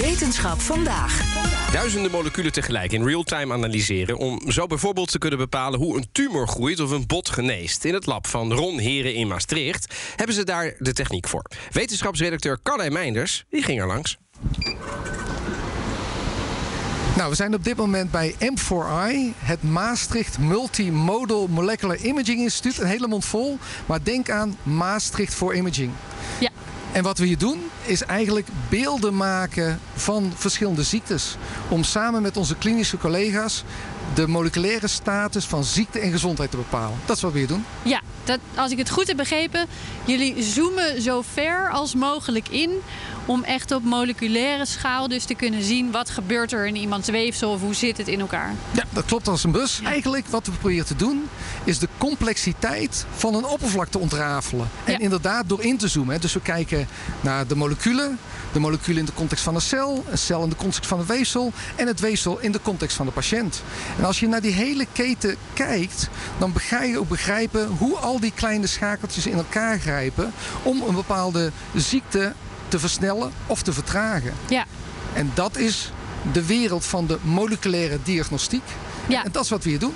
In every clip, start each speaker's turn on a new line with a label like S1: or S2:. S1: Wetenschap vandaag.
S2: Duizenden moleculen tegelijk in real-time analyseren om zo bijvoorbeeld te kunnen bepalen hoe een tumor groeit of een bot geneest. In het lab van Ron Heren in Maastricht hebben ze daar de techniek voor. Wetenschapsredacteur Carlijn Meinders die ging er langs.
S3: Nou, we zijn op dit moment bij M4i, het Maastricht Multimodal Molecular Imaging Instituut. Een hele mond vol, maar denk aan Maastricht voor Imaging.
S4: Ja.
S3: En wat we hier doen is eigenlijk beelden maken van verschillende ziektes. Om samen met onze klinische collega's de moleculaire status van ziekte en gezondheid te bepalen. Dat is wat we hier doen.
S5: Ja, dat, als ik het goed heb begrepen, jullie zoomen zo ver als mogelijk in om echt op moleculaire schaal dus te kunnen zien wat gebeurt er in iemands weefsel of hoe zit het in elkaar.
S3: Ja, dat klopt als een bus. Eigenlijk wat we proberen te doen is de complexiteit van een oppervlak te ontrafelen. En
S5: Ja.
S3: inderdaad door in te zoomen. hè. Dus we kijken naar de moleculen, de moleculen in de context van een cel, een cel in de context van een weefsel en het weefsel in de context van de patiënt. En als je naar die hele keten kijkt, dan ga je ook begrijpen hoe al die kleine schakeltjes in elkaar grijpen om een bepaalde ziekte te versnellen of te vertragen.
S5: Ja,
S3: En dat is de wereld van de moleculaire diagnostiek.
S5: Ja.
S3: En dat is wat we hier doen.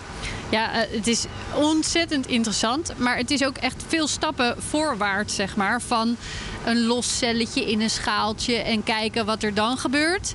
S5: ja eh, het is ontzettend interessant, maar het is ook echt veel stappen voorwaarts, zeg maar. Van een los celletje in een schaaltje en kijken wat er dan gebeurt.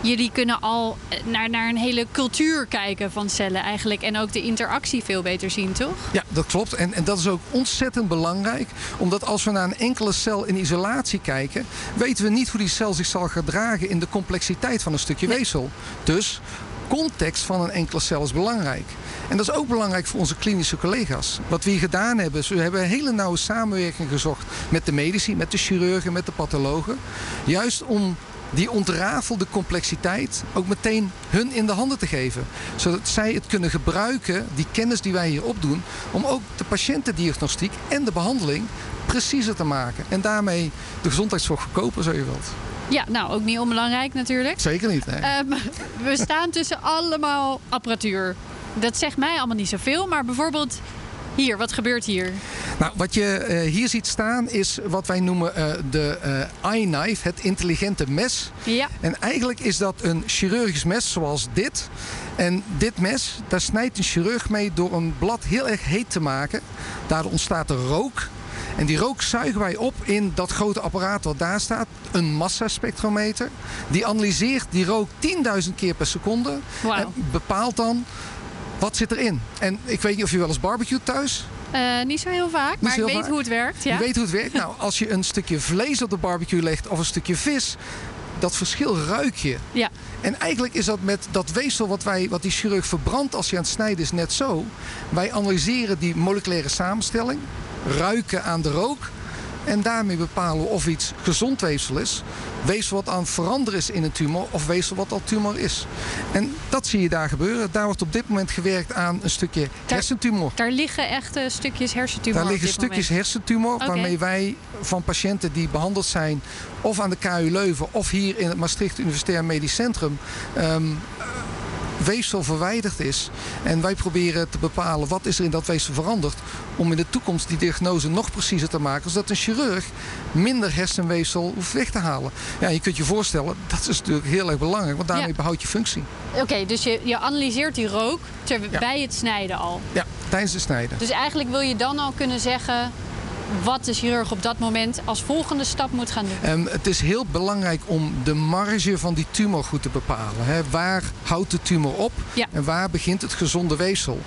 S5: Jullie kunnen al eh, naar, naar een hele cultuur kijken van cellen eigenlijk. En ook de interactie veel beter zien, toch?
S3: Ja, dat klopt. En, en dat is ook ontzettend belangrijk. Omdat als we naar een enkele cel in isolatie kijken, weten we niet hoe die cel zich zal gedragen in de complexiteit van een stukje weefsel. Dus context van een enkele cel is belangrijk. En dat is ook belangrijk voor onze klinische collega's. Wat we hier gedaan hebben, is we hebben een hele nauwe samenwerking gezocht met de medici, met de chirurgen, met de pathologen. Juist om die ontrafelde complexiteit ook meteen hun in de handen te geven. Zodat zij het kunnen gebruiken, die kennis die wij hier opdoen, om ook de patiëntendiagnostiek en de behandeling preciezer te maken. En daarmee de gezondheidszorg verkopen, zo je wilt. Eh,
S5: Ja, nou ook niet onbelangrijk natuurlijk.
S3: Zeker niet, nee.
S5: Ehm, we staan tussen allemaal apparatuur. Dat zegt mij allemaal niet zoveel, maar bijvoorbeeld hier, wat gebeurt hier?
S3: Nou, wat je eh, hier ziet staan is wat wij noemen eh, de eh eye knife, het intelligente mes.
S5: Ja,
S3: En eigenlijk is dat een chirurgisch mes zoals dit. En dit mes, daar snijdt een chirurg mee door een blad heel erg heet te maken. Daardoor ontstaat er rook. En die rook zuigen wij op in dat grote apparaat wat daar staat, een massaspectrometer. Die analyseert die rook 10.000 keer per seconde
S5: wauw.
S3: en bepaalt dan wat zit erin. En ik weet niet of je wel eens barbecue thuis,
S5: Eh, niet zo heel vaak, maar
S3: heel
S5: ik weet
S3: vaak.
S5: hoe het werkt. Ja.
S3: je weet hoe het werkt. Nou, als je een stukje vlees op de barbecue legt of een stukje vis, dat verschil ruik je.
S5: Ja.
S3: En eigenlijk is dat met dat weefsel wat, wij, wat die chirurg verbrandt als hij aan het snijden is net zo. Wij analyseren die moleculaire samenstelling, ruiken aan de rook. En daarmee bepalen we of iets gezond weefsel is. Weefsel wat aan het veranderen is in een tumor of weefsel wat al tumor is. En dat zie je daar gebeuren. Daar wordt op dit moment gewerkt aan een stukje hersentumor.
S5: Daar liggen echt eh, stukjes hersentumor
S3: Daar
S5: op
S3: liggen
S5: dit
S3: stukjes
S5: moment.
S3: hersentumor
S5: Oké.
S3: waarmee wij van patiënten die behandeld zijn... of aan de KU Leuven of hier in het Maastricht Universitair Medisch Centrum... ehm, weefsel verwijderd is. En wij proberen te bepalen wat is er in dat weefsel veranderd... om in de toekomst die diagnose nog preciezer te maken... zodat een chirurg minder hersenweefsel hoeft weg te halen. Ja, je kunt je voorstellen, dat is natuurlijk heel erg belangrijk... want daarmee
S5: Ja.
S3: behoud je functie.
S5: Oké, dus je, je analyseert die rook ter,
S3: Ja.
S5: bij het snijden al.
S3: Ja, tijdens het snijden.
S5: Dus eigenlijk wil je dan al kunnen zeggen wat de chirurg op dat moment als volgende stap moet gaan doen.
S3: Ehm, het is heel belangrijk om de marge van die tumor goed te bepalen. Hè. Waar houdt de tumor op
S5: Ja.
S3: en waar begint het gezonde weefsel?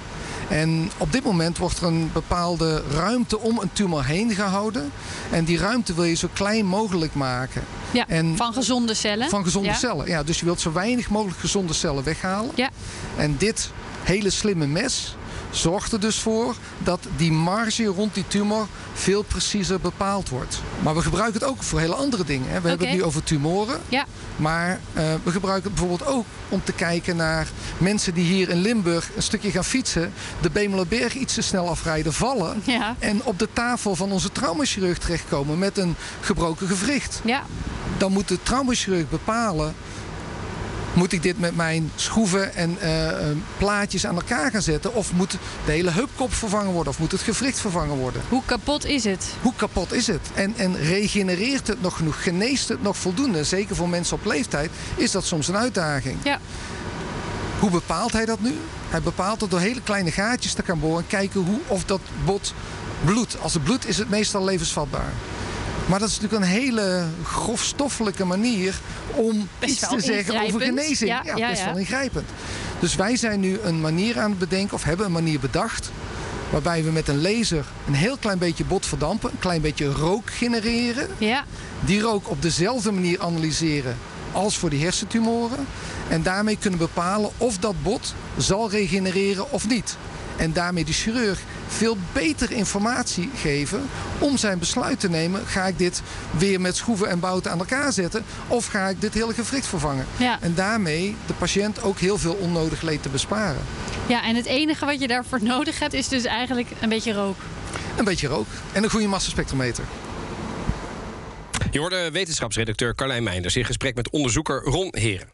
S3: En op dit moment wordt er een bepaalde ruimte om een tumor heen gehouden. En die ruimte wil je zo klein mogelijk maken
S5: Ja,
S3: en-
S5: van gezonde cellen.
S3: van gezonde
S5: Ja.
S3: cellen. Ja, dus je wilt zo weinig mogelijk gezonde cellen weghalen.
S5: Ja.
S3: En dit hele slimme mes zorgt er dus voor dat die marge rond die tumor veel preciezer bepaald wordt. Maar we gebruiken het ook voor hele andere dingen. Hè. We hebben het
S5: Oké.
S3: nu over tumoren.
S5: Ja,
S3: Maar eh, we gebruiken het bijvoorbeeld ook om te kijken naar mensen die hier in Limburg een stukje gaan fietsen, de Bemelerberg iets te snel afrijden, vallen
S5: ja,
S3: en op de tafel van onze traumachirurg terechtkomen met een gebroken gewricht.
S5: ja.
S3: Dan moet de traumachirurg bepalen. Moet ik dit met mijn schroeven en eh, eh, plaatjes aan elkaar gaan zetten? Of moet de hele heupkop vervangen worden? Of moet het gewricht vervangen worden?
S5: Hoe kapot is het?
S3: Hoe kapot is het? En, en regenereert het nog genoeg? Geneest het nog voldoende? Zeker voor mensen op leeftijd is dat soms een uitdaging.
S5: Ja.
S3: Hoe bepaalt hij dat nu? Hij bepaalt het door hele kleine gaatjes te gaan boren en kijken hoe, of dat bot bloedt. Als het bloedt is het meestal levensvatbaar. Maar dat is natuurlijk een hele grofstoffelijke manier om
S5: Best
S3: iets te
S5: wel
S3: zeggen over
S5: ingrijpend.
S3: genezing.
S5: Ja, ja,
S3: best
S5: ja.
S3: wel ingrijpend. Dus wij zijn nu een manier aan het bedenken, of hebben een manier bedacht, waarbij we met een laser een heel klein beetje bot verdampen, een klein beetje rook genereren
S5: Ja,
S3: die rook op dezelfde manier analyseren als voor die hersentumoren. En daarmee kunnen bepalen of dat bot zal regenereren of niet. En daarmee de chirurg veel beter informatie geven om zijn besluit te nemen. Ga ik dit weer met schroeven en bouten aan elkaar zetten of ga ik dit hele gewricht vervangen?
S5: ja.
S3: En daarmee de patiënt ook heel veel onnodig leed te besparen.
S5: ja, en het enige wat je daarvoor nodig hebt is dus eigenlijk een beetje rook.
S3: Een beetje rook en een goede massaspectrometer.
S2: Je hoorde wetenschapsredacteur Carlijn Meinders in gesprek met onderzoeker Ron Heren.